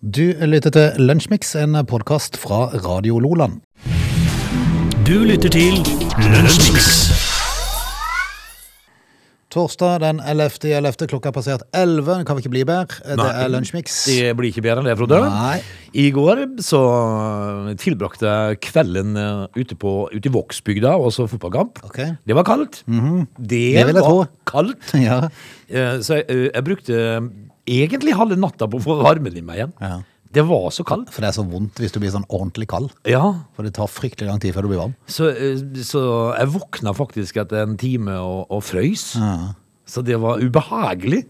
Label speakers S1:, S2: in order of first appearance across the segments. S1: Du lytter til Lunsjmix, en podkast fra Radio Loland.
S2: Du lytter til Lunsjmix.
S1: Torsdag den 11.11. klokka er passert 11. Det kan vi ikke bli bedre. Det er Lunsjmix.
S2: Det blir ikke bedre enn det, Frode.
S1: Nei.
S2: I går så tilbrakte jeg kvelden eh, ute, på, ute i Vågsbygda og så fotballkamp.
S1: Ok.
S2: Det var kaldt. Det,
S1: Mhm. Det vil jeg
S2: var
S1: tro.
S2: kaldt.
S1: Ja.
S2: Eh, Så jeg, eh, jeg brukte egentlig halve natta på å få varmen i meg igjen.
S1: Ja.
S2: Det var så kaldt.
S1: For det er så vondt hvis du blir sånn ordentlig kald.
S2: Ja,
S1: For det tar fryktelig lang tid før du blir varm.
S2: så, eh, så jeg våkna faktisk etter en time og, og frøys.
S1: Ja.
S2: Så det var ubehagelig.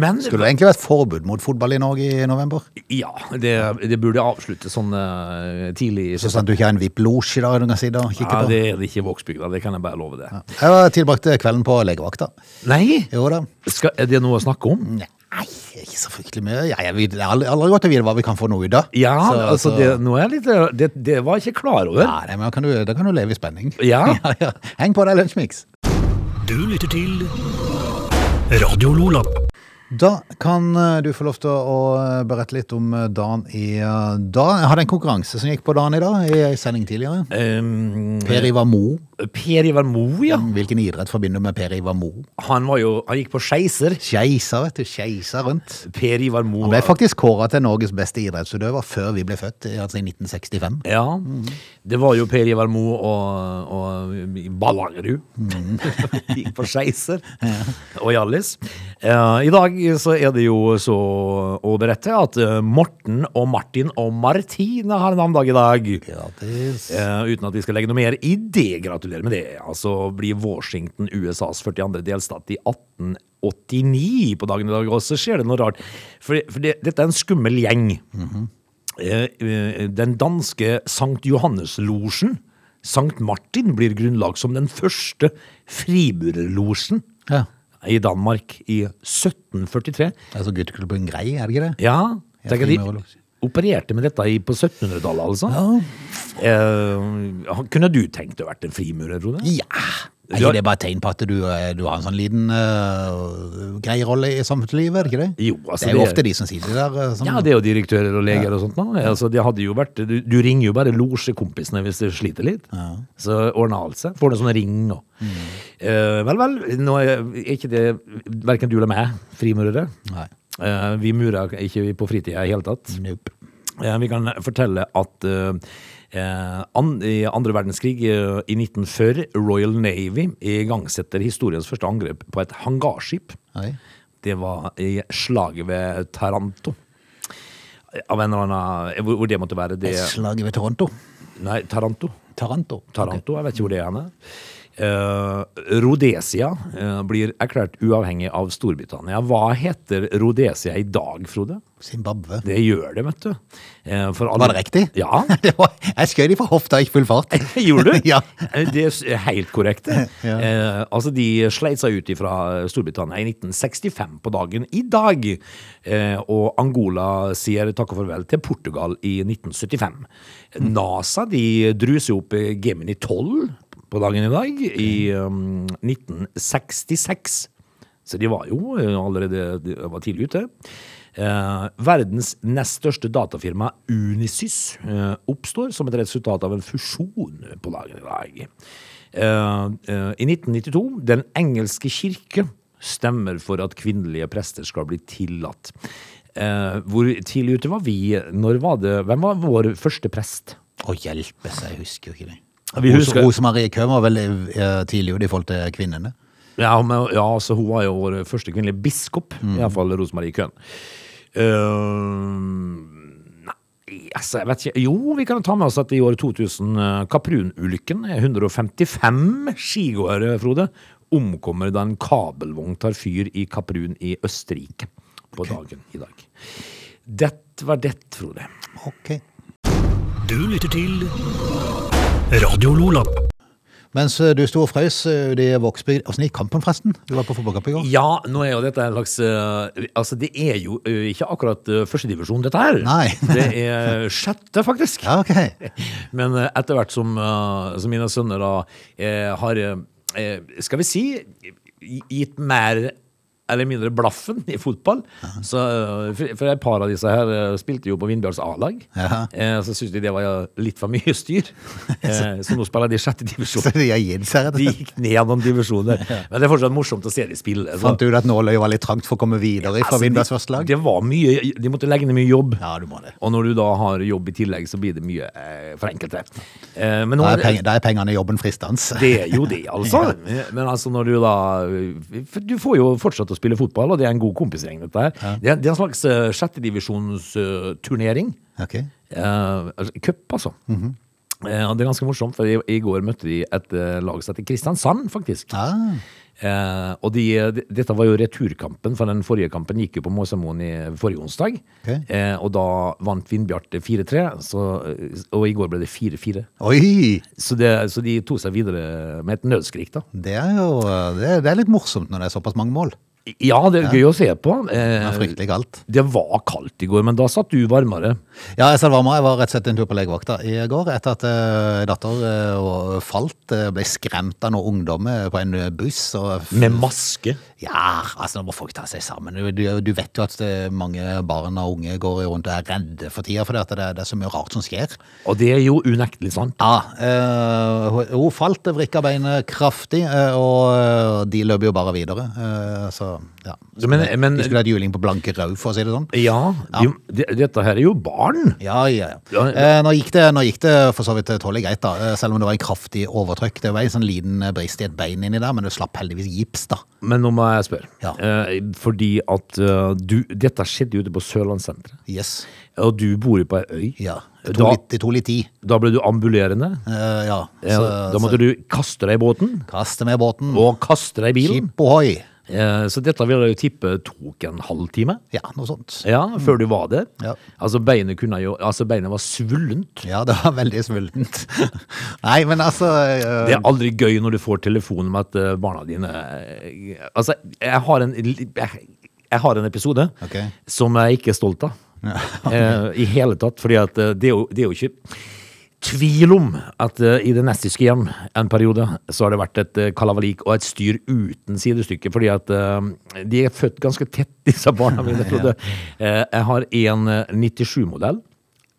S2: Men
S1: Skulle det egentlig vært forbud mot fotball i Norge i november?
S2: Ja, det, det burde avsluttes sånn eh, tidlig. i
S1: Så sånn at du ikke har en VIP-losj i dag du kan sitte og kikke
S2: Ja,
S1: på.
S2: det er det ikke i Vågsbygda, det kan jeg bare love det.
S1: Jeg tilbrakte kvelden på legevakta.
S2: Nei!
S1: Jo da.
S2: Skal, er det noe å snakke om?
S1: Nei, ikke så fryktelig mye. Jeg, jeg, vet- det er aldri, aldri godt å vite hva vi kan få nå ut av.
S2: Ja,
S1: Så-
S2: altså,
S1: så-
S2: det, nå er jeg litt, det, det var jeg ikke klar over.
S1: Nei, nei, men da kan, du, da kan du leve i spenning.
S2: Ja.
S1: ja, ja. Heng på deg, Lunsjmix.
S3: Du lytter til Radio Lola.
S1: Da kan eh, du få lov til å eh, berette litt om eh, dagen i eh, dag. Jeg hadde en konkurranse som gikk på dagen i dag, i en sending tidligere.
S2: Ehm,
S1: Per Ivar Mo.
S2: per Ivar Moe, ja.
S1: Hvilken idrett forbinder du med Per Ivar Mo?
S2: Han, var jo, han gikk på skeiser.
S1: Skeiser, vet du. Skeiser rundt.
S2: Per Ivar Moe.
S1: Han ble faktisk kåra til Norges beste idrettsutøver før vi ble født, i- altså i 1965.
S2: Ja. Det var jo Per Ivar Moe og, og Ballangerud. Gikk på Skeiser og Hjallis. Eh, I dag så er det jo så å berette at eh, Morten og Martin og Martine har navnedag i dag.
S1: Gratis.
S2: Eh, uten at vi skal legge noe mer i det. Gratulerer med det. Altså blir Washington USAs 42. delstat i 1889 på dagen i dag. Og så skjer det noe rart. For, for det, dette er en skummel gjeng. Eh, eh, Den danske Sankt Johannes-losjen, Sankt Martin, blir grunnlag som den første friburerlosjen
S1: Ja.
S2: i Danmark i 1743.
S1: Altså gutteklubben Grei, er det ikke det?
S2: Ja, tenk at de
S1: frimurerlosje.
S2: opererte med dette i- på 1700-tallet, altså.
S1: Ja.
S2: Eh, kunne du tenkt å vært en frimurer, Rode?
S1: Ja. Er
S2: Du
S1: ikke
S2: har-
S1: det bare et tegn på at du, eh, du har en sånn liten eh, grei rolle i samfunnslivet, er det ikke det?
S2: Jo, altså,
S1: det er jo
S2: det er-
S1: ofte de som sitter der. eh, Som,
S2: Ja, det er jo direktører og leger og sånt. nå. Altså, det hadde jo vært, du, du ringer jo bare losjekompisene hvis du sliter litt. Så ordner alt seg. Får du sånne ring og Eh, Vel, vel. Nå er er ikke det verken du eller meg frimurere.
S1: Nei.
S2: Eh, vi murer ikke på fritida i hele tatt.
S1: Nope.
S2: Eh, Vi kan fortelle at eh, eh, an, i andre verdenskrig eh, i 1940 Royal Navy igangsetter historiens første angrep på et hangarskip.
S1: Nei.
S2: Det var i slaget ved Taranto. Av en eller annen Hvor hvor det måtte være? Det,
S1: Slaget ved Toronto.
S2: nei, Taranto.
S1: Taranto.
S2: Taranto, jeg vet ikke hvor det er. henne. Eh, Rhodesia eh, blir erklært uavhengig av Storbritannia. Hva heter Rhodesia i dag, Frode?
S1: Zimbabwe.
S2: Det gjør det, vet du. Eh, for alle-
S1: Var det riktig?
S2: Ja.
S1: Det var, jeg skjøt de fra hofta, ikke full fart.
S2: Gjorde du?
S1: ja.
S2: Eh, Det er s- helt korrekt. det.
S1: Ja.
S2: Eh, altså, de sleit seg ut fra Storbritannia i 1965 på dagen i dag. Eh, og Angola sier takk og farvel til Portugal i 1975.
S1: Mm.
S2: NASA de druser opp eh, Gemini 12 på dagen i dag, i um, 1966. Så de var jo eh, allerede de var tidlig ute. Eh, verdens nest største datafirma, Unisys, eh, oppstår som et resultat av en fusjon på dagen i dag. Eh, eh, I 1992, Den engelske kirke stemmer for at kvinnelige prester skal bli tillatt. Eh, hvor tidlig ute var vi? Når var det, hvem var vår første prest?
S1: Å hjelpe seg, jeg husker jo ikke det.
S2: Vi
S1: Rose-
S2: husker-
S1: Rosemarie Køhn var veldig eh, tidlig ute i forhold til kvinnene.
S2: Ja, men, ja så hun var jo vår første kvinnelige biskop, i hvert fall Rosemarie Køhn. Eh, nei, altså, jeg vet ikke. Jo, vi kan ta med oss at i år 2000, eh, Kaprun-ulykken, er 155 skigåere, Frode, omkommer da en kabelvogn tar fyr i Kaprun i Østerrike på dagen i dag. Dette var det, Frode.
S1: Ok.
S3: Du lytter til Radio Lola.
S1: Mens eh, du sto og frøs eh, ute i Vågsbygd. Åssen gikk kampen, forresten? Du var på fotballkamp i går?
S2: Ja, nå er jo dette en slags eh, Altså, det er jo eh, ikke akkurat eh, førstedivisjon, dette her.
S1: Nei.
S2: det er sjette, faktisk.
S1: Ja, ok.
S2: Men eh, etter hvert som, eh, som mine sønner da eh, har eh, eh, Skal vi si gitt mer eller mindre blaffen i fotball. Så, eh, for, for et par av disse her eh, spilte jo på Vindbjørns A-lag.
S1: Ja.
S2: Eh, Så syntes de det var eh, litt for mye styr. Eh, Så nå spiller de i sjette divisjon.
S1: Så de har gitt seg, rett og
S2: De
S1: slett.
S2: gikk ned noen divisjoner. Men det er fortsatt morsomt å se de spille. så-
S1: Fant du ut at nåløyet var litt trangt for å komme videre fra
S2: Altså,
S1: Vindbergs
S2: de-
S1: første lag?
S2: Det var mye, de måtte legge ned mye jobb.
S1: Ja, du må det.
S2: Og når du da har jobb i tillegg, så blir det mye eh, for enkelte. Eh, men nå
S1: Da
S2: er
S1: er, peng, da er pengene i jobben fristende.
S2: det er jo det, altså. Men altså, når du da for Du får jo fortsatt å spille fotball, og det er en god kompisgjeng, dette her. Det, er, det er en slags eh, sjettedivisjonsturnering.
S1: Ok.
S2: Uh, Cup, altså. Eh, og det er ganske morsomt, for i, i går møtte de et eh, lag som heter Kristiansand, faktisk.
S1: Ah,
S2: Eh, og de, de, dette var jo returkampen, for den forrige kampen gikk jo på Måsamoen i forrige onsdag.
S1: Ok.
S2: Eh, og da vant Vindbjarte 4-3, så- og i går ble det 4-4.
S1: oi!
S2: Så, det- så de tok seg videre med et nødskrik, da.
S1: Det er jo det er, det er litt morsomt når det er såpass mange mål.
S2: Ja, det er gøy å se på.
S1: Det er
S2: Eh,
S1: fryktelig kaldt.
S2: det var kaldt i går, men da satt du varmere.
S1: Ja, jeg, sa det var meg. jeg var rett og slett en tur på legevakta i går etter at eh, datter eh, og falt. eh, Ble skremt av noen ungdommer på en eh, buss. Og
S2: Med maske.
S1: Ja, altså nå må folk ta seg sammen. Du, du, du vet jo at eh, mange barn og unge går rundt og er redde for tida, for det, at det, det er så mye rart som skjer.
S2: Og det er jo unektelig sånn. sant.
S1: Ja, eh, hun- hun falt, det vrikka beinet kraftig, eh, og eh, de løp jo bare videre. eh, så ja.
S2: Så, men-
S1: De-
S2: men-
S1: de skulle hatt juling på blanke rau, for å si det sånn.
S2: Ja, de, de, dette her er jo barn.
S1: Ja, ja, ja.
S2: Ja, ja.
S1: Eh, nå, gikk det, nå gikk det for så vidt tålelig greit, da, eh, selv om det var en kraftig overtrykk. Det var en sånn liten eh, brist i et bein inni der, men det slapp heldigvis gips, da.
S2: Men nå må jeg spørre.
S1: Ja.
S2: Eh, fordi at eh, du Dette skjedde jo ute på Sørlandssenteret.
S1: Yes.
S2: Og du bor jo på ei øy.
S1: Ja. Det tok
S2: Da,
S1: litt, det tok litt tid.
S2: da ble du ambulerende.
S1: Eh, ja.
S2: Ja, da måtte du kaste deg i båten,
S1: Kaste med båten.
S2: og kaste deg i bilen.
S1: Mm. Skip ohoi.
S2: Eh, Så dette vil jeg jo tippe tok en halvtime.
S1: Ja, noe sånt.
S2: Ja, før du var der.
S1: Mm. Ja.
S2: Altså, beinet kunne jo Altså, beinet var svullent.
S1: Ja, det var veldig svultent. Nei, men altså eh,
S2: Det er aldri gøy når du får telefon om at eh, barna dine eh, Altså, jeg har en, li- jeg, jeg har en episode
S1: Ok.
S2: som jeg ikke er stolt av. eh, I hele tatt. fordi at eh, det er jo, det er jo ikke tvil om at eh, i det nestiske hjem en periode så har det vært et eh, kalavalik og et styr uten sidestykke. Fordi at eh, de er født ganske tett, disse barna mine. Frode. Eh, jeg har en 97-modell.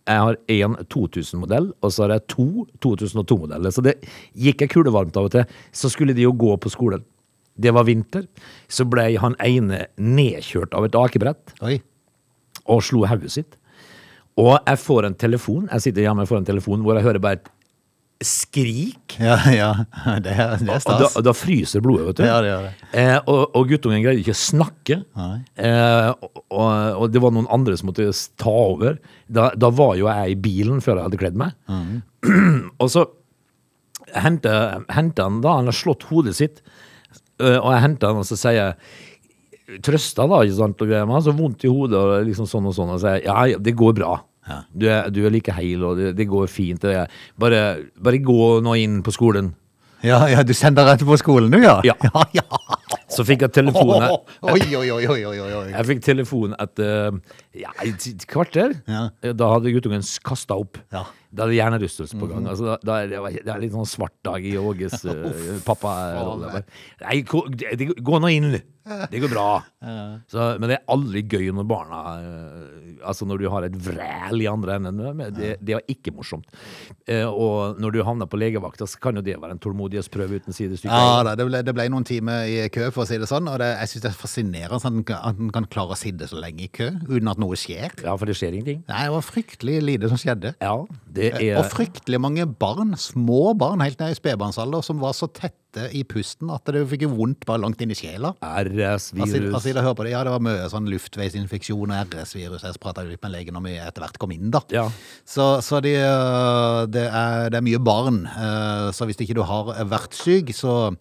S2: Jeg har en 2000-modell, og så har jeg to 2002-modeller. Så det gikk jeg kulevarmt av og til. Så skulle de jo gå på skolen. Det var vinter. Så ble han ene nedkjørt av et akebrett
S1: Oi.
S2: og slo hodet sitt. Og jeg får en telefon, jeg sitter hjemme og får en telefon hvor jeg hører bare et skrik.
S1: Ja, ja. Det er, det er
S2: Og da,
S1: stas.
S2: og da fryser blodet, vet du.
S1: Ja, det gjør det.
S2: Eh, og, og guttungen greide ikke å snakke.
S1: Nei.
S2: Eh, og, og, og det var noen andre som måtte s- ta over. Da, da var jo jeg i bilen før jeg hadde kledd meg.
S1: Mm.
S2: og så henter henter han da, han har slått hodet sitt, eh, og jeg henter han og så sier jeg Trøsta, da, ikke sant, og greier. men Han har så vondt i hodet og liksom sånn og sånn, og sier ja, ja, det går bra. Du, er, du er like heil, og det, det går fint. Det er. Bare, bare gå nå inn på skolen.
S1: Ja, ja, du sender rett på skolen, du, ja?
S2: Ja.
S1: ja, ja.
S2: Så fikk jeg telefonen e-
S1: Åh, Oi, oi, oi, oi, oi, oi.
S2: Jeg fikk telefon etter eh, ja, et t- kvarter. Eh,
S1: Ja.
S2: Da hadde guttungen kasta opp.
S1: Ja. Mhm.
S2: Da hadde hjernerystelse på gang. altså, da, da er det, det er litt sånn svart dag i Åges uh, papparolle. Nei, gå, det- det- gå nå inn! Det går bra. Så, men det er aldri gøy når barna eh, Altså når du har et vræl i andre enden. men Det, det var ikke morsomt. Eh, og når du havner på legevakta, så kan jo det være en tålmodighetsprøve uten sidestykke.
S1: Ja da, det ble, det ble noen timer i kø, for å si det sånn. Og det, jeg syns det er fascinerende at en kan- at en kan klare å sitte så lenge i kø uten at noe skjer.
S2: ja, for det skjer ingenting.
S1: Nei, det var fryktelig lite som skjedde.
S2: Ja, det er
S1: Eh, Og fryktelig mange barn, små barn helt ned i spedbarnsalder, som var så tette i pusten at det fikk jo vondt bare langt inn i sjela. Altså,
S2: RS-virus.
S1: altså, jeg hører på det. Ja, det var mye sånn luftveisinfeksjon og RS-virus. Jeg prata litt med legen om jeg etter hvert kom inn, da.
S2: Ja.
S1: Så, så de, øh, det, er, det er mye barn. øh, Så hvis ikke du har vært syk, så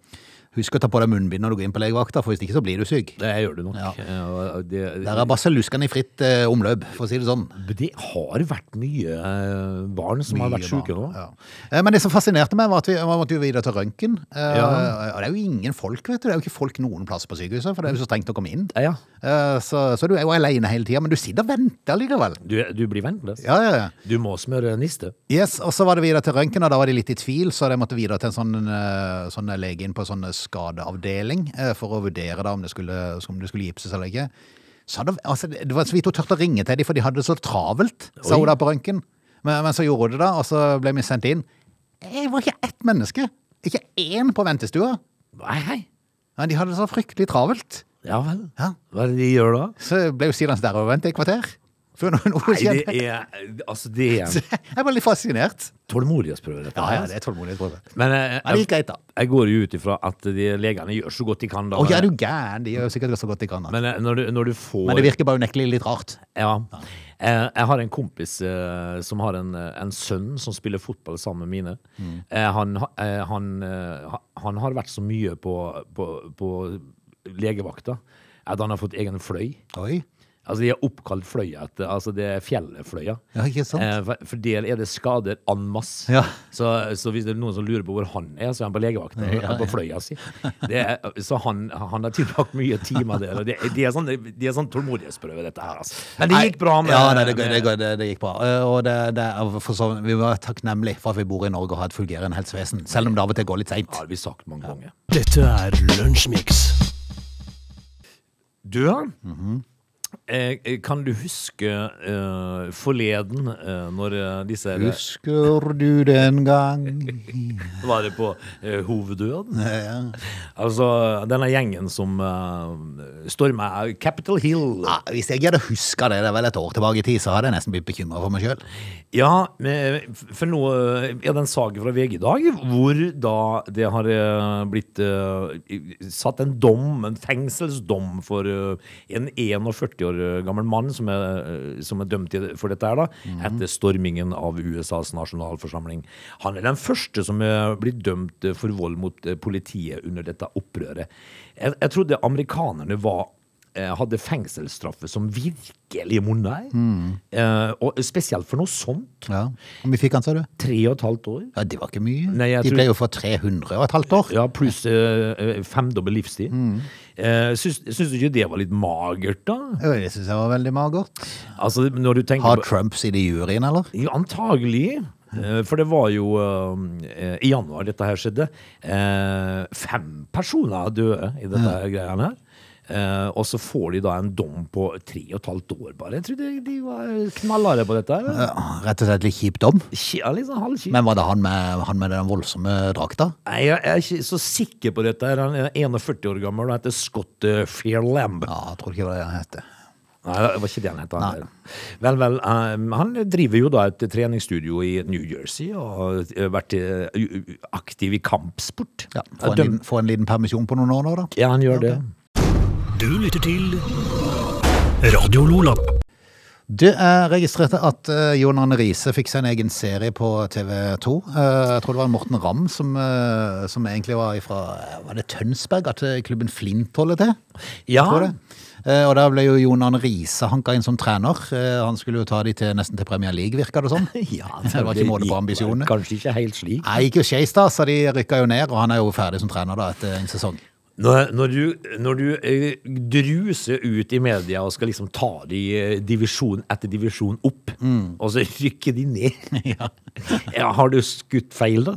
S1: husk å ta på deg munnbind når du går inn på legevakta, for hvis ikke så blir du syk.
S2: Det gjør du nok.
S1: Ja.
S2: Eh, og Det,
S1: Der er basilluskene i fritt øh, omløp, for å si det sånn.
S2: det har vært mye eh, barn som har
S1: Mye
S2: vært syke nå.
S1: barn, ja. Eh, Men det som fascinerte meg, var at vi man måtte jo videre til røntgen. Eh,
S2: Ja.
S1: Og det er jo ingen folk, vet du. Det er jo ikke folk noen plass på sykehuset, for det er jo så strengt å komme inn.
S2: Ja, ja.
S1: Eh, Så, så du er jo alene hele tida, men du sitter og venter likevel.
S2: Du, du blir venteløs.
S1: Ja, ja, ja.
S2: Du må smøre niste.
S1: Yes, og så var det videre til røntgen, og da var de litt i tvil, så de måtte videre til en sånn, eh, sånn lege inn på sånn yrkesskadeavdeling eh, for å vurdere da om det skulle, om det skulle gipses eller ikke. Så hadde, altså, det var så vidt hun tørte å ringe til dem, for de hadde det så travelt, sa
S2: Oi.
S1: hun da på røntgen. Men, men så gjorde hun det, da, og så ble vi sendt inn. Det var ikke ett menneske. Ikke én på ventestua.
S2: Nei, hei.
S1: Men de hadde det så fryktelig travelt.
S2: Ja vel.
S1: Ja.
S2: Hva er det de gjør da?
S1: Så ble jo Silans der og ventet i kvarter. Før noe, noe
S2: Nei,
S1: skjedde.
S2: det er Altså, det er
S1: Så
S2: en
S1: Jeg var litt fascinert.
S2: tålmodighetsprøve, dette.
S1: Ja,
S2: her,
S1: ja,
S2: altså.
S1: det er tålmodighetsprøve.
S2: Men eh,
S1: Ja, det gikk greit, da.
S2: jeg går jo ut ifra at de legene gjør så godt de kan. da.
S1: Å, ja, er du gæren? De gjør jo sikkert så godt de kan. Da. Men,
S2: Men eh, når du, når du får
S1: det virker bare unektelig litt rart.
S2: Ja. Eh, Jeg har en kompis eh, som har en, eh, en sønn som spiller fotball sammen med mine. Eh, Han, ha- eh, han, eh, ha- han har vært så mye på, på, på legevakta at han har fått egen fløy.
S1: Oi.
S2: Altså, de er oppkalt fløya etter Altså, det er fjellfløya.
S1: Ja, ikke sant?
S2: Eh, for- For del er det skader en masse.
S1: Ja.
S2: Så, så hvis det er noen som lurer på hvor han er, så er han på legevakten. På fløya si. Det er, så han, han har tilbrakt mye timer der. Og det, det, er sånn, det er sånn tålmodighetsprøve, dette her. Altså. Men det gikk bra med
S1: Ja, nei, det, det,
S2: med-
S1: det, det, det gikk bra. Eh, Og det, det, er for så, vidt- vi var takknemlige for at vi bor i Norge og har et fungerende helsevesen, selv om det av og til går litt seint.
S2: Det har vi sagt mange ganger.
S3: Dette er Lunsjmix.
S2: Du, ja. Mhm. eh, kan du huske eh, forleden, eh, når eh, disse
S1: Husker du den gang
S2: Var det på eh, hoveddøden?
S1: ja.
S2: Altså, denne gjengen som uh, storma Capitol Hill.
S1: Ja, Hvis jeg hadde huska det, det er vel et år tilbake i tid, så hadde jeg nesten blitt bekymra for meg sjøl.
S2: Ja, men for nå eh, er det en sage fra VG i dag, hvor da det har eh, blitt eh, satt en dom, en fengselsdom, for eh, en 41 år gammel mann som er, eh, som er dømt til- for dette her, da, etter stormingen av USAs nasjonalforsamling. Han er den første som er blitt dømt eh, for vold mot eh, politiet under dette opprøret. Jeg, jeg trodde amerikanerne var eh, hadde fengselsstraffe som virkelig monna i. Eh, og spesielt for noe sånt.
S1: Ja. Hvor mye fikk han, sa du?
S2: Tre og et halvt år.
S1: Ja, Det var ikke mye.
S2: Nei, jeg
S1: De
S2: tror-
S1: ble jo for 300 og et halvt år.
S2: Ja, pluss eh, eh, femdobbel livstid. Eh, syns, syns du ikke det var litt magert, da?
S1: Ja, Det syns jeg var veldig magert.
S2: Altså, når du tenker
S1: Har
S2: på-
S1: Trump sittet i juryen, eller?
S2: Jo, antagelig. Eh, For det var jo eh, I januar dette her skjedde. eh, Fem personer døde i dette her greiene her. Eh, og så får de da en dom på tre og et halvt år, bare. Jeg trodde de var knallharde på dette. her
S1: Ja, Rett og slett litt kjip dom.
S2: Ki- Ja, litt sånn halvkjipt.
S1: Men var det han med, han med den voldsomme drakta?
S2: Nei, jeg er ikke så sikker på dette. her. Han er 41 år gammel og heter Scott eh, Fairlamb.
S1: Ja, jeg tror ikke det var det han het.
S2: Nei, det var ikke det han het. han der. Vel, vel. ehm, han driver jo da et treningsstudio i New Jersey og har vært eh, u- u- aktiv i kampsport.
S1: Ja, få, en
S2: Døm-
S1: liten- få en liten permisjon på noen år nå, da.
S2: ja han gjør det.
S3: Du lytter til Radio Lola.
S1: Du eh, registrerte at eh, Jon Arne Riise fikk seg en egen serie på TV 2. Eh, jeg tror det var Morten Ramm som, eh, som egentlig var fra Var det Tønsberg? At eh, klubben Flint holder til?
S2: Ja,
S1: Tror det. Eh, og da ble jo Jon Arne Riise hanka inn som trener. Eh, han skulle jo ta de til, nesten til Premier League, virka det som. det var ikke måte
S2: gikk
S1: på ambisjonene.
S2: Kanskje ikke helt slik.
S1: Nei, gikk jo skeis, da, så de rykka jo ned. Og han er jo ferdig som trener da etter en sesong.
S2: Når, når du, når du eh, druser ut i media og skal liksom ta de eh, divisjon etter divisjon opp,
S1: Mm.
S2: og så rykker de ned ja, Har du skutt feil, da?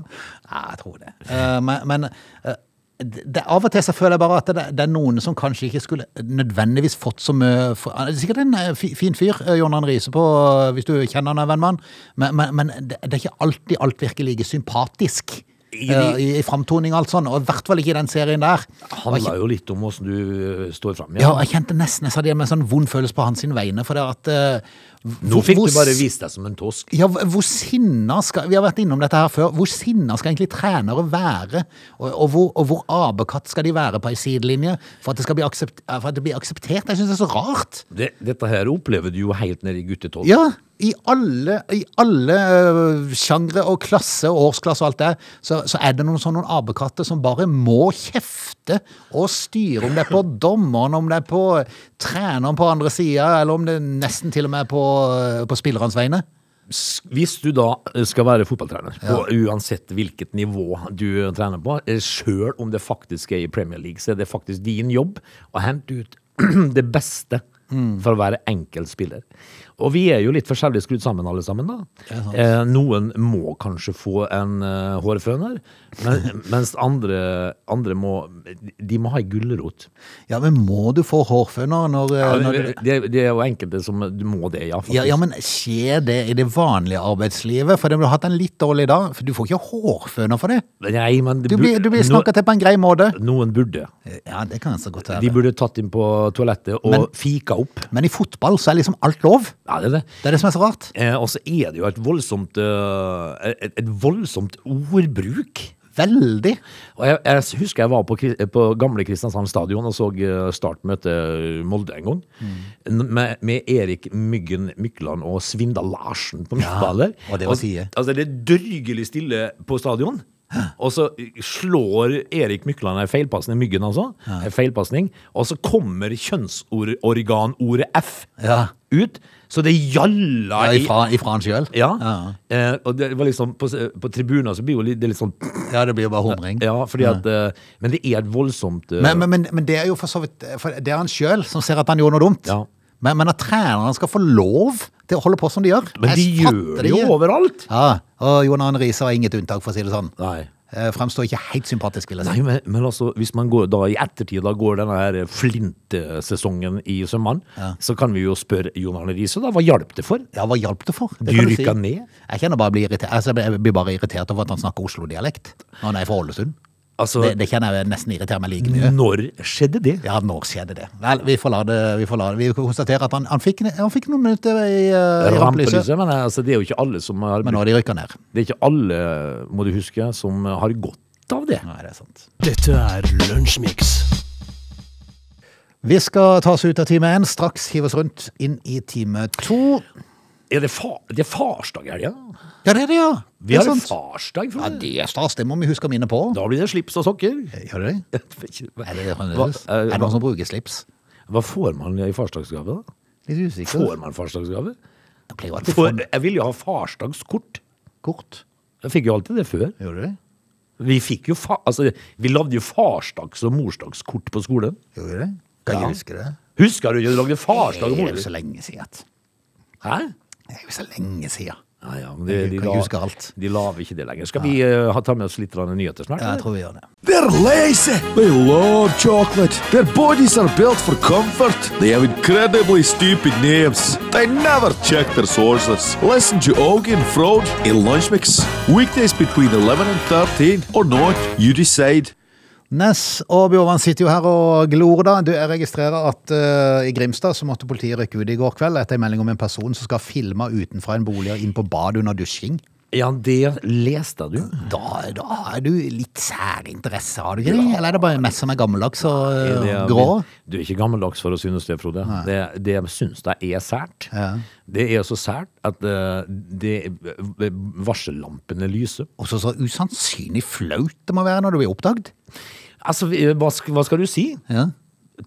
S1: Ja, jeg tror det. Eh, men men eh, det, det, av og til så føler jeg bare at det, det er noen som kanskje ikke skulle nødvendigvis fått så mye for, Han er sikkert en eh, fi- fin fyr, eh, John Arne Riise, på, eh, hvis du kjenner han er venn med han, men, men, men det, det er ikke alltid alt virker like sympatisk.
S2: I
S1: I,
S2: de-
S1: I, i framtoning og alt sånn, og i hvert fall ikke i den serien der. Og jeg,
S2: handler jo litt om åssen du eh, står fram.
S1: ja, og jeg kjente nesten jeg satt igjen med en sånn vond følelse på hans sin vegne, for det at eh,
S2: Nå
S1: hvor-
S2: fikk
S1: hvor
S2: du bare vist deg som en tosk.
S1: ja, hv- hvor sinna skal Vi har vært innom dette her før. Hvor sinna skal egentlig trenere være? Og, og hvor, og hvor apekatt skal de være på ei sidelinje for at det skal bli, aksept, eh, for at det blir akseptert? Jeg syns det er så rart.
S2: Det, dette her opplever du jo helt nede i guttetolv.
S1: Ja, i alle, i alle øh, sjangre og klasse og årsklasse og alt det, så, så er det noen sånne noen apekatter som bare må kjefte og styre, om det er på dommeren, om det er på øh, treneren på andre sida, eller om det nesten til og med er på, øh, på spillernes vegne.
S2: S- Hvis du da eh, skal være fotballtrener, og uansett hvilket nivå du trener på, eh, sjøl om det faktisk er i Premier League, så er det faktisk din jobb å hente ut det beste
S1: Mm.
S2: for å være enkeltspiller. Og vi er jo litt forskjellig skrudd sammen alle sammen, da.
S1: sant.
S2: Eh, noen må kanskje få en eh, hårføner, men, mens andre, andre må De må ha ei gulrot.
S1: Ja, men må du få hårføner når, eh, når du...
S2: det, det er jo enkelte som må det, ja.
S1: Ja,
S2: Faktisk.
S1: ja, men skjer det i det vanlige arbeidslivet? For du har hatt en litt dårlig dag, for du får ikke hårføner for det.
S2: Nei, men de
S1: Du
S2: bur-
S1: blir, du blir snakket til på en grei måte.
S2: no, Noen burde.
S1: Ja, det kan jeg så godt
S2: De
S1: være.
S2: burde tatt inn på toalettet og fika opp.
S1: Men i fotball så er liksom alt lov.
S2: Ja, det er det.
S1: Det er det som er så rart.
S2: Eh, og så er det jo et voldsomt, eh, et, et voldsomt ordbruk.
S1: Veldig.
S2: Og jeg, jeg husker jeg var på, Kri- på gamle Kristiansand stadion og så eh, Start møte eh, Molde en gang.
S1: Mm.
S2: N- Med, med Erik Myggen Mykland og Svindal Larsen på midtballer.
S1: og det var side.
S2: Altså, det er dørgelig stille på stadion. Og så eh, slår Erik Mykland en feilpasning, Myggen altså, en feilpasning, og så kommer kjønnsorganordet F
S1: Ja.
S2: ut, så det gjalla
S1: Ja,
S2: i
S1: ifra, ifra han sjøl?
S2: ja.
S1: ja.
S2: Eh, og det var liksom på, s- på tribuner så blir jo litt, det er litt sånn
S1: Ja, det blir jo bare humring.
S2: Ja, fordi at eh, Men det er et voldsomt eh,
S1: Men, men, men, men det er jo for så vidt for Det er han sjøl som ser at han gjorde noe dumt.
S2: Ja.
S1: Men, men at trenerne skal få lov til å holde på som de gjør
S2: Men de
S1: jeg fatter
S2: gjør det jo
S1: ikke.
S2: overalt!
S1: Ja, og Jon Arne Riise var inget unntak, for å si det sånn.
S2: Nei.
S1: Eh, Fremstår ikke helt sympatisk, vil jeg si.
S2: Nei, men, men altså, hvis man går da i ettertid, da går denne her flintsesongen i Sømmann, så kan vi jo spørre Jon Arne Riise, da. Hva hjalp det for?
S1: Ja, hva hjalp det for? Det
S2: Du
S1: kan du si.
S2: rykka ned?
S1: Jeg kjenner bare jeg blir irritert altså, Jeg blir bare irritert over at han snakker Oslo-dialekt når han er fra Ålesund.
S2: Altså,
S1: Det, det kjenner jeg nesten irriterer meg like mye.
S2: når skjedde det?
S1: Ja, når skjedde det? Vel, vi får la det. Vi får la det. Vi konstaterer at han, han, fikk, han fikk noen minutter i, eh, i rampelyset,
S2: Rampelyset? Men altså, det er jo ikke alle som har
S1: men nå har de rykka ned.
S2: Det er ikke alle, må du huske, som har godt av det.
S1: Nei, det er sant.
S3: Dette er Lunsjmix.
S1: Vi skal ta oss ut av time én, straks hive oss rundt inn i time to.
S2: Er det, fa det er farsdag i helga?
S1: Ja, det er det, ja.
S2: Vi
S1: Det er
S2: har en
S1: sant.
S2: farsdag,
S1: Ja,
S2: Frode.
S1: det er stas. Det må vi huske å minne på.
S2: Da blir det slips og sokker.
S1: Gjør det det? Er det
S2: Hva,
S1: fremdeles?
S2: eh,
S1: Er det
S2: hva-
S1: noen som bruker slips?
S2: Hva får man i farsdagsgave, da?
S1: Litt usikker.
S2: Får man farsdagsgave?
S1: Det pleier jo alltid
S2: For,
S1: for
S2: jeg ville jo ha farsdagskort.
S1: kort.
S2: Jeg fikk jo alltid det før.
S1: Gjorde du det?
S2: Vi fikk jo fa altså, vi lagde jo farsdags- og morsdagskort på skolen.
S1: Gjorde vi det? Kan ikke huske det.
S2: Husker du ikke du lagde farsdag
S1: Det
S2: og
S1: er jo
S2: morsdag?
S1: så lenge siden.
S2: Hæ?
S1: Det er jo så lenge siden.
S2: Ja, ja, men de,
S1: Jeg
S2: de,
S1: kan ikke huske
S2: la,
S1: alt.
S2: de laver ikke det lenger. Skal vi eh, ha- ta med oss litt grann nyheter snart?
S1: Ja, jeg
S2: eller?
S1: tror vi gjør det.
S4: They're lazy. They love chocolate. Their bodies are built for comfort. They have incredibly stupid names. They never check their sources. Listen to Augie and Frode in Lunch Mix. Weekdays between 11 and 13 or not, you decide.
S1: Ness og Bjørvann sitter jo her og glor, da. Du, jeg registrerer at eh, i Grimstad så måtte politiet rykke ut i går kveld etter en melding om en person som skal filme utenfra en bolig og inn på badet under dusjing.
S2: Ja, det leste du.
S1: Da, da har du litt særinteresse, har du ikke det? Eller er det bare meg som er gammeldags og eh,
S2: Det er-
S1: grå?
S2: Du er ikke gammeldags for å synes det, Frode. Det, det synes jeg er sært.
S1: Ja.
S2: Det er så sært at eh, det, eh, varsellampene lyser.
S1: Og så så usannsynlig flaut det må være når du blir oppdaget.
S2: Altså, vi- hva, sk- hva skal du si?
S1: Ja.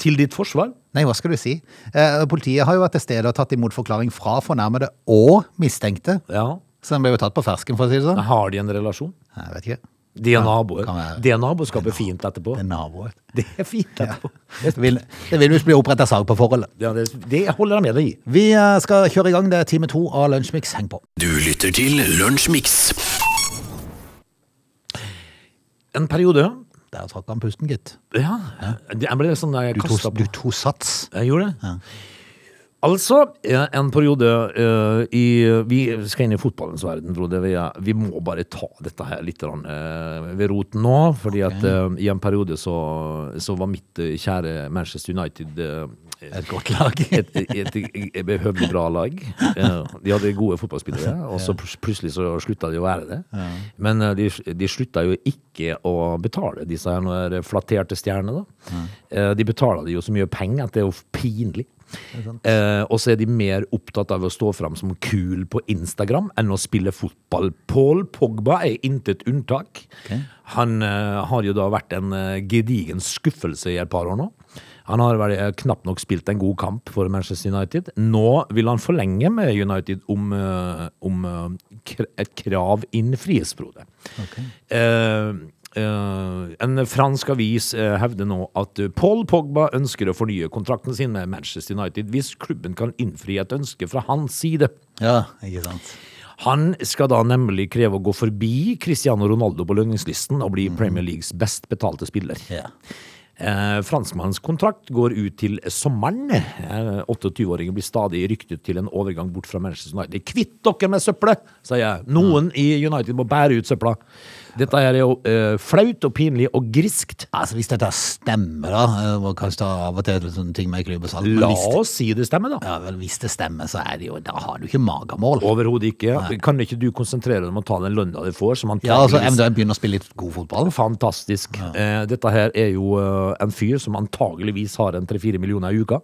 S2: Til ditt forsvar?
S1: Nei, hva skal du si? Eh, politiet har jo vært til stede og tatt imot forklaring fra fornærmede og mistenkte.
S2: Ja.
S1: Så den ble jo tatt på fersken, for å si det sånn.
S2: Har de en relasjon?
S1: Nei, Jeg vet ikke.
S2: De er naboer.
S1: kan være.
S2: Det er naboskapet er fint etterpå.
S1: Det er naboer.
S2: Det er fint etterpå.
S1: Det vil, det vil visst bli oppretta sag på forholdet.
S2: Ja, det, det holder jeg med deg i.
S1: Vi eh, skal kjøre i gang. Det er time to av Lunsjmix. Heng på.
S3: Du lytter til Lunsjmix.
S2: En periode
S1: Der trakk han pusten, gitt.
S2: Ja. Det, jeg ble sånn jeg
S1: Du
S2: kastet
S1: tok,
S2: på.
S1: du tok sats.
S2: Jeg gjorde det. Altså, eh, en periode eh, i Vi skal inn i fotballens verden, Frode. Vi, er- vi må bare ta dette her litt grann, eh, ved roten nå. Fordi at eh, i en periode så, så var mitt eh, kjære Manchester United eh,
S1: Et godt lag.
S2: et, et, et behøvelig bra lag. Eh, De hadde gode fotballspillere, og så pl- plutselig så slutta de å være det. Men eh, de, de slutta jo ikke å betale, disse her når flatterte stjernene. da. Eh, De betaler de jo så mye penger at det er jo pinlig. Eh, og så er de mer opptatt av å stå fram som kul på Instagram enn å spille fotball. Paul Pogba er intet unntak. Han eh, har jo da vært en eh, gedigen skuffelse i et par år nå. Han har vel eh, knapt nok spilt en god kamp for Manchester United. Nå vil han forlenge med United om, eh, om eh, kr- et krav innfries, Frode. Eh, Eh, en fransk avis eh, hevder nå at eh, Paul Pogba ønsker å fornye kontrakten sin med Manchester United hvis klubben kan innfri et ønske fra hans side.
S1: Ja, ikke sant.
S2: Han skal da nemlig kreve å gå forbi Cristiano Ronaldo på lønningslisten og bli Premier Leagues best betalte spiller.
S1: Ja.
S2: Eh, Franskmannens kontrakt går ut til sommeren. Eh, 28-åringen blir stadig ryktet til en overgang bort fra Manchester United. Kvitt dere med søppelet, sier jeg. Noen i United må bære ut søpla. Dette her er jo eh, flaut og pinlig og griskt.
S1: Altså, Hvis dette stemmer, da, eh, og kanskje det er av og til litt sånne ting med klype salt men
S2: La
S1: hvis det,
S2: oss si det stemmer, da.
S1: ja, vel, hvis det stemmer, så er det jo, da har du ikke magemål.
S2: Overhodet ikke. Kan ikke du konsentrere deg om å ta den lønna du får, som han
S1: Ja, altså,
S2: antageligvis-
S1: Eventuelt begynne å spille litt god fotball.
S2: Fantastisk. Eh, dette her er jo eh, en fyr som antageligvis har en 3-4 millioner i uka.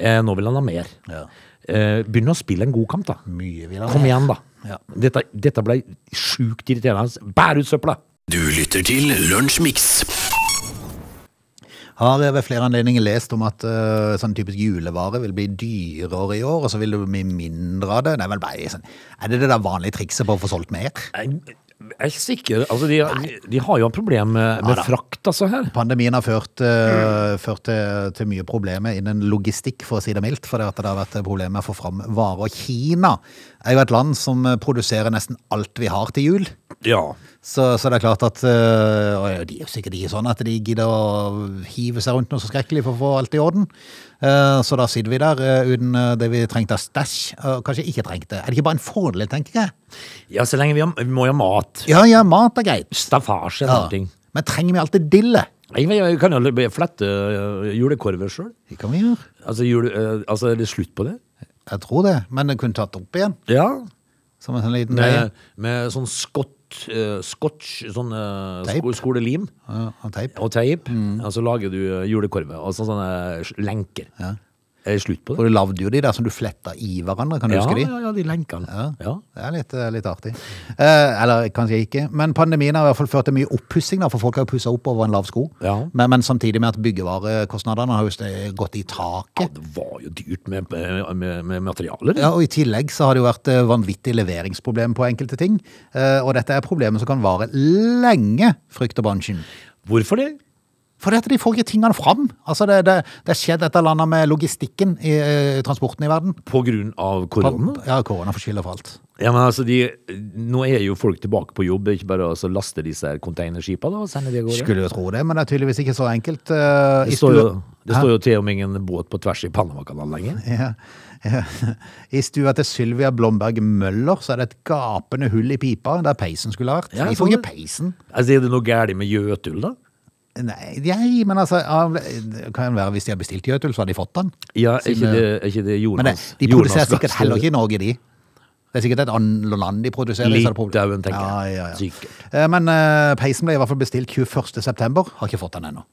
S2: Eh, nå vil han ha mer.
S1: Mm. Ja.
S2: Eh, begynn å spille en god kamp, da.
S1: Mye vil han
S2: Kom
S1: ha.
S2: igjen, da.
S1: Ja.
S2: Dette, dette ble sjukt irriterende. Bær ut søpla!
S3: Du lytter til Lunsjmix.
S1: Har ved flere anledninger lest om at eh, sånn typisk julevare vil bli dyrere i år, og så vil det bli mindre av det. Det er vel bare sånn Er det det der vanlige trikset på å få solgt mer?
S2: Jeg jeg er ikke sikker altså, de, de, de har jo et problem med, med
S1: da.
S2: frakt, altså, her.
S1: Pandemien har ført, eh, ført til, til mye problemer innen logistikk, for å si det mildt. For det at det har vært problemer med å få fram varer. Kina er jo et land som produserer nesten alt vi har til jul.
S2: Ja.
S1: Så, så det er klart at øh, Og de er jo sikkert ikke sånn at de gidder å hive seg rundt noe så skrekkelig for å få alt i orden. Eh, så da sitter vi der eh, uten eh, det vi trengte av stæsj. eh, kanskje ikke trengte. Er det ikke bare en fordel, tenker jeg?
S2: ja, så lenge vi, har, vi må jo ha mat.
S1: Ja, ja, mat er greit.
S2: Staffasje og
S1: Ja.
S2: sånne ting.
S1: Men trenger vi alltid dille?
S2: Jeg, jeg kan jo flette øh, julekorver sjøl.
S1: Det kan vi gjøre.
S2: Altså, jule, øh, altså, er det slutt på det?
S1: Jeg tror det. Men den kunne tatt opp igjen.
S2: Ja.
S1: Som en sånn liten
S2: med, med sånn skott, eh, scotch, sånn eh,
S1: Teip.
S2: sko, skolelim
S1: ja, og teip.
S2: og teip, og så lager du eh, julekorve, og så sånne s- lenker. Er det slutt på
S1: Og
S2: det?
S1: du lagde jo de der som du fletta i hverandre, kan du
S2: Ja,
S1: huske de?
S2: ja, ja, de lenkene. Ja.
S1: Det er litt, litt artig. Eh, eller kanskje ikke. Men pandemien har i hvert fall ført til mye oppussing, da, for folk har jo pussa opp over en lav sko.
S2: Ja.
S1: Men, men samtidig med at byggevarekostnadene har jo st- gått i
S2: Ja,
S1: taket.
S2: det var jo dyrt med, med, med materialer.
S1: Ja, og I tillegg så har det jo vært eh, vanvittig leveringsproblem på enkelte ting. Eh, Og dette er problemer som kan vare lenge, frykter bransjen.
S2: Hvorfor det?
S1: Fordi at de får ikke tingene fram. Altså Det, det, det skjedde et eller annet med logistikken i eh, transporten i verden.
S2: På grunn av korona?
S1: Ja, korona får skylda for alt.
S2: Ja, men altså, de, nå er jo folk tilbake på jobb, det er ikke bare altså, å så laste disse her containerskipene da, og sende de av gårde.
S1: Skulle jo tro det, men det er tydeligvis ikke så enkelt. eh, i
S2: Det står, jo,
S1: stua-
S2: det står jo til om ingen båt på tvers i Panamakanalen lenger.
S1: Ja. ja. I stua til Sylvia Blomberg Møller så er det et gapende hull i pipa der peisen skulle ha vært.
S2: Ja,
S1: de får
S2: sånn
S1: ikke
S2: det.
S1: peisen.
S2: Altså, er det noe gærlig med Jøtul da?
S1: Nei, jeg, men altså av- Det kan være hvis de har bestilt Jøtul, så har de fått den.
S2: Ja, er ikke
S1: Siden-
S2: det, er ikke det Jonas?
S1: Men det, de
S2: Jonas
S1: produserer sikkert
S2: Gahr
S1: heller
S2: Støre?
S1: ikke i Norge, de. Det er sikkert et annet land de produserer. så er det problem-
S2: Litauen, tenker
S1: ja,
S2: jeg.
S1: ja, ja.
S2: Sikkert.
S1: Eh, Men eh, peisen ble i hvert fall bestilt 21. september. Har ikke fått den ennå.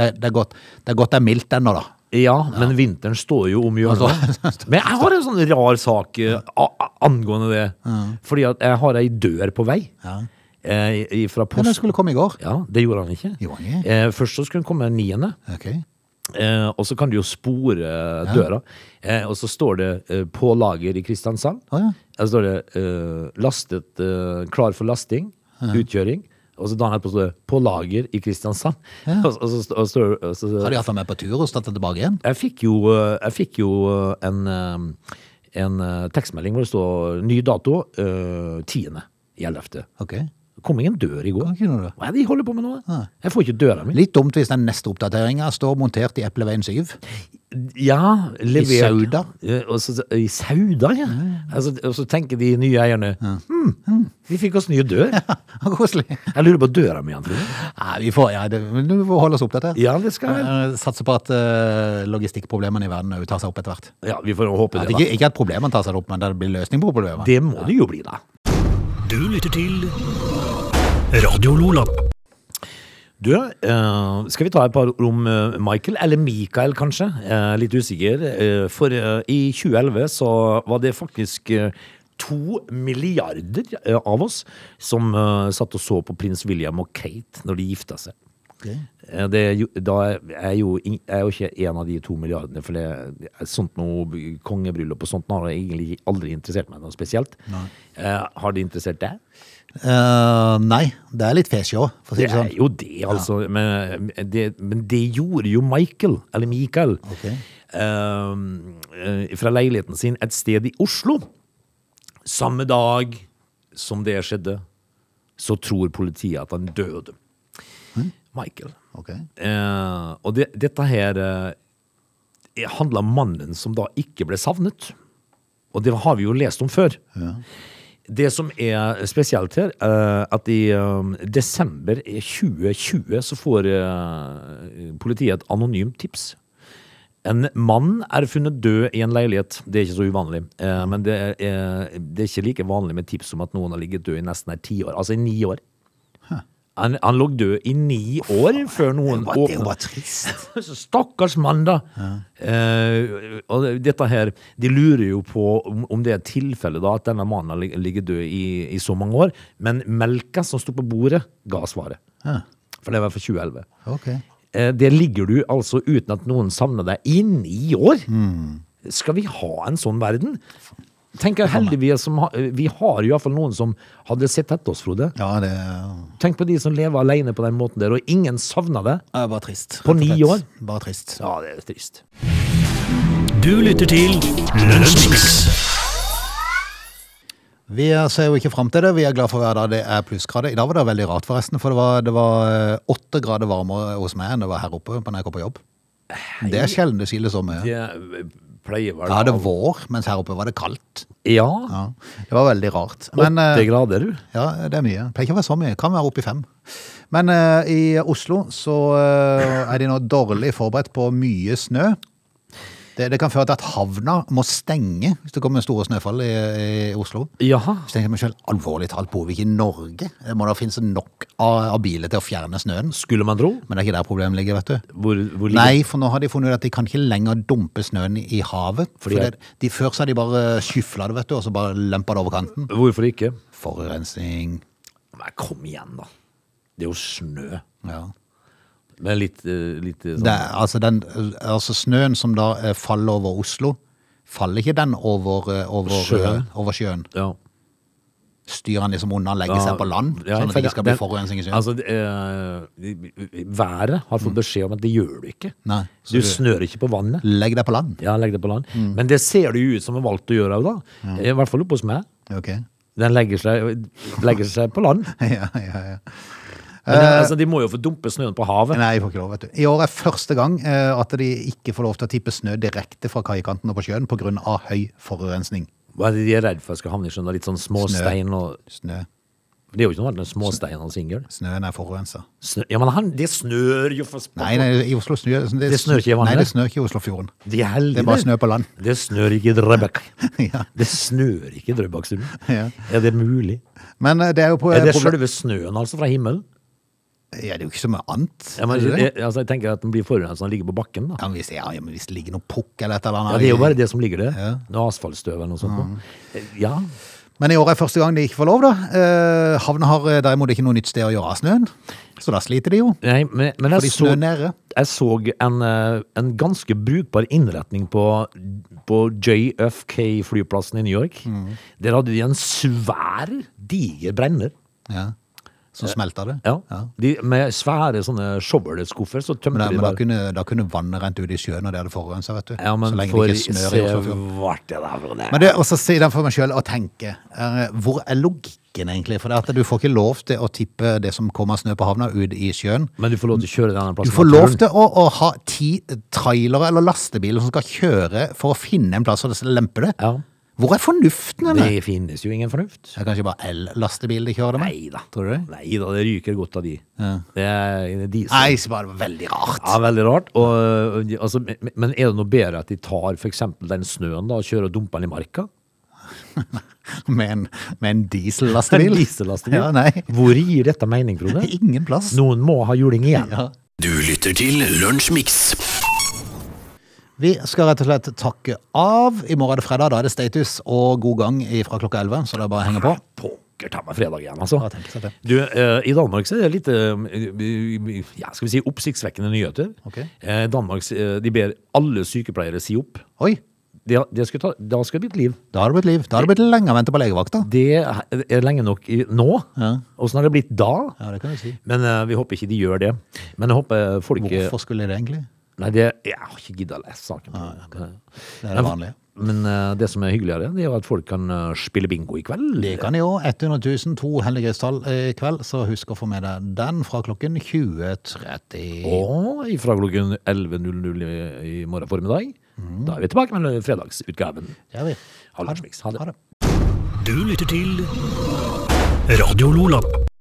S1: Det, det er godt det er, godt det er mildt ennå, da.
S2: Ja, men vinteren står jo om hjørnet. men jeg har en sånn rar sak eh, a- a- angående det. Fordi at jeg har ei dør på vei. Eh, i- fra
S1: Men den
S2: post.
S1: skulle komme i går.
S2: Ja, det gjorde han ikke.
S1: Gjorde han ikke?
S2: Eh, først så skulle han komme niende.
S1: Ok.
S2: Eh, og så kan du jo spore døra. Eh, og så står det eh, 'på lager i Kristiansand'.
S1: Å, ja.
S2: Der står det eh, 'lastet, eh, klar for lasting', utkjøring. Og så dagen etterpå står det 'på lager i Kristiansand'. Og, og så, st- og står- og så,
S1: Har de hatt den med på tur og stått den tilbake igjen?
S2: Jeg fikk jo, jeg fikk jo eh, en, en eh, tekstmelding hvor det står ny dato, eh, 10. i 11.
S1: Ok.
S2: Kom ingen dør i går.
S1: Kan ikke noe det.
S2: Hva er det de holder på med nå? Jeg får ikke døra mi.
S1: Litt dumt hvis den neste oppdateringa står montert i Epleveien 7.
S2: Ja, levert.
S1: Sauda?
S2: Eh, og så- I Sauda, ja. Altså, og så tenker de nye eierne hm, vi fikk oss nye dør.
S1: Koselig.
S2: Jeg lurer på døra mi, Antrine.
S1: Nei, vi får, ja, det, men du får holde oss oppdatert.
S2: Ja, det skal jeg.
S1: Eh, Satser på at eh, logistikkproblemene i verden også tar seg opp etter hvert.
S2: Ja, vi får håpe
S1: At
S2: det.
S1: Ikke,
S2: Da.
S1: ikke at problemene tar seg opp, men det blir løsning på problemene.
S2: Det må det jo bli, da.
S3: Du lytter til Radio Lola.
S2: Du, eh, skal vi ta et par ord om eh, Michael, eller Michael kanskje? Eh, litt usikker. Eh, for eh, i 2011 så var det faktisk eh, to milliarder eh, av oss som eh, satt og så på prins William og Kate når de gifta seg. Eh, Det, er jo- da er jo, ing- jeg er jo ikke en av de to milliardene, for det, sånt noe b- kongebryllup og sånt har jeg egentlig aldri interessert meg noe spesielt. Eh, har det interessert deg?
S1: Eh, nei, det er litt fesj òg, for å si det
S2: Det er
S1: sånn.
S2: jo det, altså. Men, det, men det gjorde jo Michael, eller Michael,
S1: Ok.
S2: eh, eh, fra leiligheten sin et sted i Oslo. Samme dag som det skjedde, så tror politiet at han døde.
S1: Hm?
S2: Michael.
S1: Ok.
S2: Eh, og det, dette her uh, handla om mannen som da ikke ble savnet. Og det har vi jo lest om før. Det som er spesielt her, eh, at i eh, desember 2020 så får eh, politiet et anonymt tips. En mann er funnet død i en leilighet. Det er ikke så uvanlig. eh, Men det er, eh, det er ikke like vanlig med tips om at noen har ligget død i nesten et tiår. Altså i ni år. Han, han lå død i ni år før noen
S1: Det er jo
S2: åpna.
S1: bare trist.
S2: Så Stakkars mann, da. Eh, og det- dette her, De lurer jo på om, om det er tilfellet da at denne mannen har lig- ligget død i, i så mange år. Men melka som sto på bordet, ga svaret. For det var for 2011.
S1: Ok.
S2: Eh, Der ligger du altså uten at noen savner deg i ni år.
S1: Mm.
S2: Skal vi ha en sånn verden? Tenk heldigvis som ha- eh, Vi har jo iallfall noen som hadde sett etter oss, Frode.
S1: Ja, det er
S2: Tenk på de som lever alene på den måten der, og ingen savner det.
S1: er bare trist.
S2: På
S1: rett og
S2: ni
S1: slett.
S2: år?
S1: Bare trist.
S2: Ja, det er trist.
S3: Du lytter til Lunsjmix.
S1: Vi ser jo ikke fram til det. Vi er glad for hver dag det er plussgrader. I dag var det veldig rart, forresten. For det var, det var eh, åtte grader varmere hos meg enn det var her oppe på- når jeg kom på jobb. Det er sjelden det skiller så mye.
S2: Det eh, pleier vel
S1: Da er det
S2: å-
S1: vår, mens her oppe var det kaldt.
S2: Ja.
S1: Ja, det var veldig rart. Men, eh,
S2: Åtte grader, du.
S1: Ja, det er mye. Pleier ikke å være så mye. Kan være oppe i fem. Men eh, i Oslo så eh, er de nå dårlig forberedt på mye snø. Det, det kan føre til at havna må stenge hvis det kommer store snøfall i, i Oslo.
S2: Jaha.
S1: Så tenker jeg meg selv, alvorlig talt, bor vi ikke i Norge? Det må da finnes nok av, av biler til å fjerne snøen.
S2: Skulle man tro.
S1: Men det er ikke der problemet ligger, vet du.
S2: Hvor, hvor ligger-
S1: Nei, for nå har de funnet ut at de kan ikke lenger dumpe snøen i, i havet.
S2: Fordi
S1: for det, de, før så har de bare skyfla det, vet du, og så bare lempa det over kanten.
S2: Hvorfor ikke?
S1: Forurensning.
S2: Nei, kom igjen, da. Det er jo snø.
S1: Ja.
S2: Men litt, eh, litt eh, sånn
S1: Det, er- altså, den, altså snøen som da eh, faller over Oslo, faller ikke den over, eh, over,
S2: Sjøen.
S1: sjøen. over sjøen?
S2: Ja.
S1: Styrer den liksom unna, legger seg på land,
S2: Ja,
S1: sånn at
S2: for
S1: det ikke skal bli
S2: den-
S1: forurensning i sjøen?
S2: Altså, eh, været har fått beskjed om at det gjør du ikke.
S1: Mm. Nei, så
S2: du
S1: det- Mm.
S2: snør ikke på vannet.
S1: Legg deg på land.
S2: Ja, legg det på land. Men det ser det jo ut som en valgt å gjøre òg, da. I hvert fall oppe hos meg.
S1: Ok.
S2: Den legger seg, legger seg på land.
S1: ja, ja, ja.
S2: Men det, altså, de må jo få dumpe snøen på havet.
S1: Nei, jeg får ikke lov, vet du. I år er første gang eh, at de ikke får lov til å tippe snø direkte fra kaikanten og på sjøen pga. høy forurensning.
S2: Hva er det de er redd for skal havne i sjøen? da? Litt sånn småstein og
S1: Snø.
S2: Det er jo ikke noe annet enn småstein og singel.
S1: Snøen er forurensa.
S2: Snø- Ja, men han, det snør jo for
S1: Nei, nei, i Oslo snø, det,
S2: Det snør ikke i vannet?
S1: Nei, det snør ikke i Oslofjorden.
S2: De er heldige.
S1: Det er bare snø på land.
S2: Det snør ikke i Drøbak.
S1: Ja.
S2: Det snør ikke i Drøbakstunden.
S1: Ja.
S2: Er det mulig?
S1: Men eh, det er jo på
S2: Er det
S1: proble-
S2: selve snøen, altså, fra himmelen?
S1: Ja, det er jo ikke så mye annet.
S2: Ja, men,
S1: er det det?
S2: jeg, altså, jeg tenker at den blir forurenset når den ligger på bakken, da.
S1: Ja, men hvis, ja, ja, men hvis det ligger noe pukk eller et eller
S2: Ja,
S1: annet
S2: det er jo bare det som ligger der.
S1: Ja. Mm.
S2: Noe asfaltstøv eller noe sånt. nå. Eh, Ja.
S1: Men i år er første gang de ikke får lov, da. Eh, havna har eh, derimot ikke noe nytt sted å gjøre av snøen, så da sliter de jo.
S2: Nei, men, men jeg
S1: Fordi
S2: så,
S1: snøen er nede.
S2: jeg så en, eh, en ganske brukbar innretning på, på JFK-flyplassen i New York.
S1: Mm.
S2: Der hadde de en svær, diger brenner.
S1: Ja. Så smelter det.
S2: Ja. De, med svære sånne skjobberskuffer så tømte
S1: Men, da,
S2: de
S1: men da,
S2: bare
S1: kunne, da kunne vannet rent ut i sjøen, og det hadde forurensa, vet du.
S2: Ja, men
S1: så lenge
S2: for
S1: det ikke snør i Oslofjorden.
S2: svart det der for det.
S1: Men det er også å si den for meg sjøl og tenke, eh, hvor er logikken egentlig? For det at du får ikke lov til å tippe det som kommer av snø på havna, ut i sjøen.
S2: Men du får lov til å kjøre denne
S1: Du
S2: plassen.
S1: får
S2: på
S1: lov
S2: turen.
S1: til å, å ha ti trailere eller lastebiler som skal kjøre for å finne en plass og lempe det.
S2: Ja.
S1: Hvor er fornuften henne?
S2: Det finnes jo ingen fornuft.
S1: Det er kanskje bare el-lastebil de kjører det med?
S2: Nei da.
S1: Tror du det?
S2: Nei da, det ryker godt av de.
S1: Ja.
S2: Det er diesel.
S1: Nei, så bare det var veldig rart.
S2: Ja, veldig rart. Og, øh, de- altså, men- men er det noe bedre at de tar for eksempel den snøen da, og kjører og dumper den i marka?
S1: Med en, med en
S2: En
S1: diesel-lastebil.
S2: diesellastebil?
S1: Ja, nei.
S2: Hvor gir dette mening, Frode?
S1: Ingen plass.
S2: Noen må ha juling igjen.
S1: Ja.
S3: Du lytter til Lunsjmix.
S1: Vi skal rett og slett takke av. I morgen er det fredag, da er det status og god gang fra klokka 11, så det er bare å henge på.
S2: Pokker sikkert ta meg fredag igjen, altså.
S1: Ja, tenk seg det.
S2: Du, eh, I Danmark så er det litt eh, ja, skal vi si, oppsiktsvekkende nyheter.
S1: Ok.
S2: Eh, Danmark eh, de ber alle sykepleiere si opp.
S1: Oi,
S2: Det, det skal ta, da skal det bli et liv.
S1: da har det blitt liv. Da har det blitt lenge å vente på legevakta.
S2: Det er lenge nok i, nå.
S1: Ja.
S2: Åssen har det blitt da?
S1: Ja, det kan du si.
S2: Men eh, vi håper ikke de gjør det. Men jeg håper folk eh,
S1: Hvorfor skulle det egentlig?
S2: Nei, det, jeg har ikke gidda å lese saken.
S1: Det er det vanlige.
S2: Men eh, det som er hyggeligere, det er jo at folk kan eh, spille bingo i kveld.
S1: Det kan jo. 100 000, to helliggristall i kveld, så husk å få med deg den fra klokken 20.30.
S2: Og fra klokken 11.00 i, i morgen formiddag. Da er vi tilbake med fredagsutgaven.
S1: Mm. Det er vi.
S2: Ha det, Smix. Ha det.
S1: Ha det.
S3: Du lytter til Radio Lola.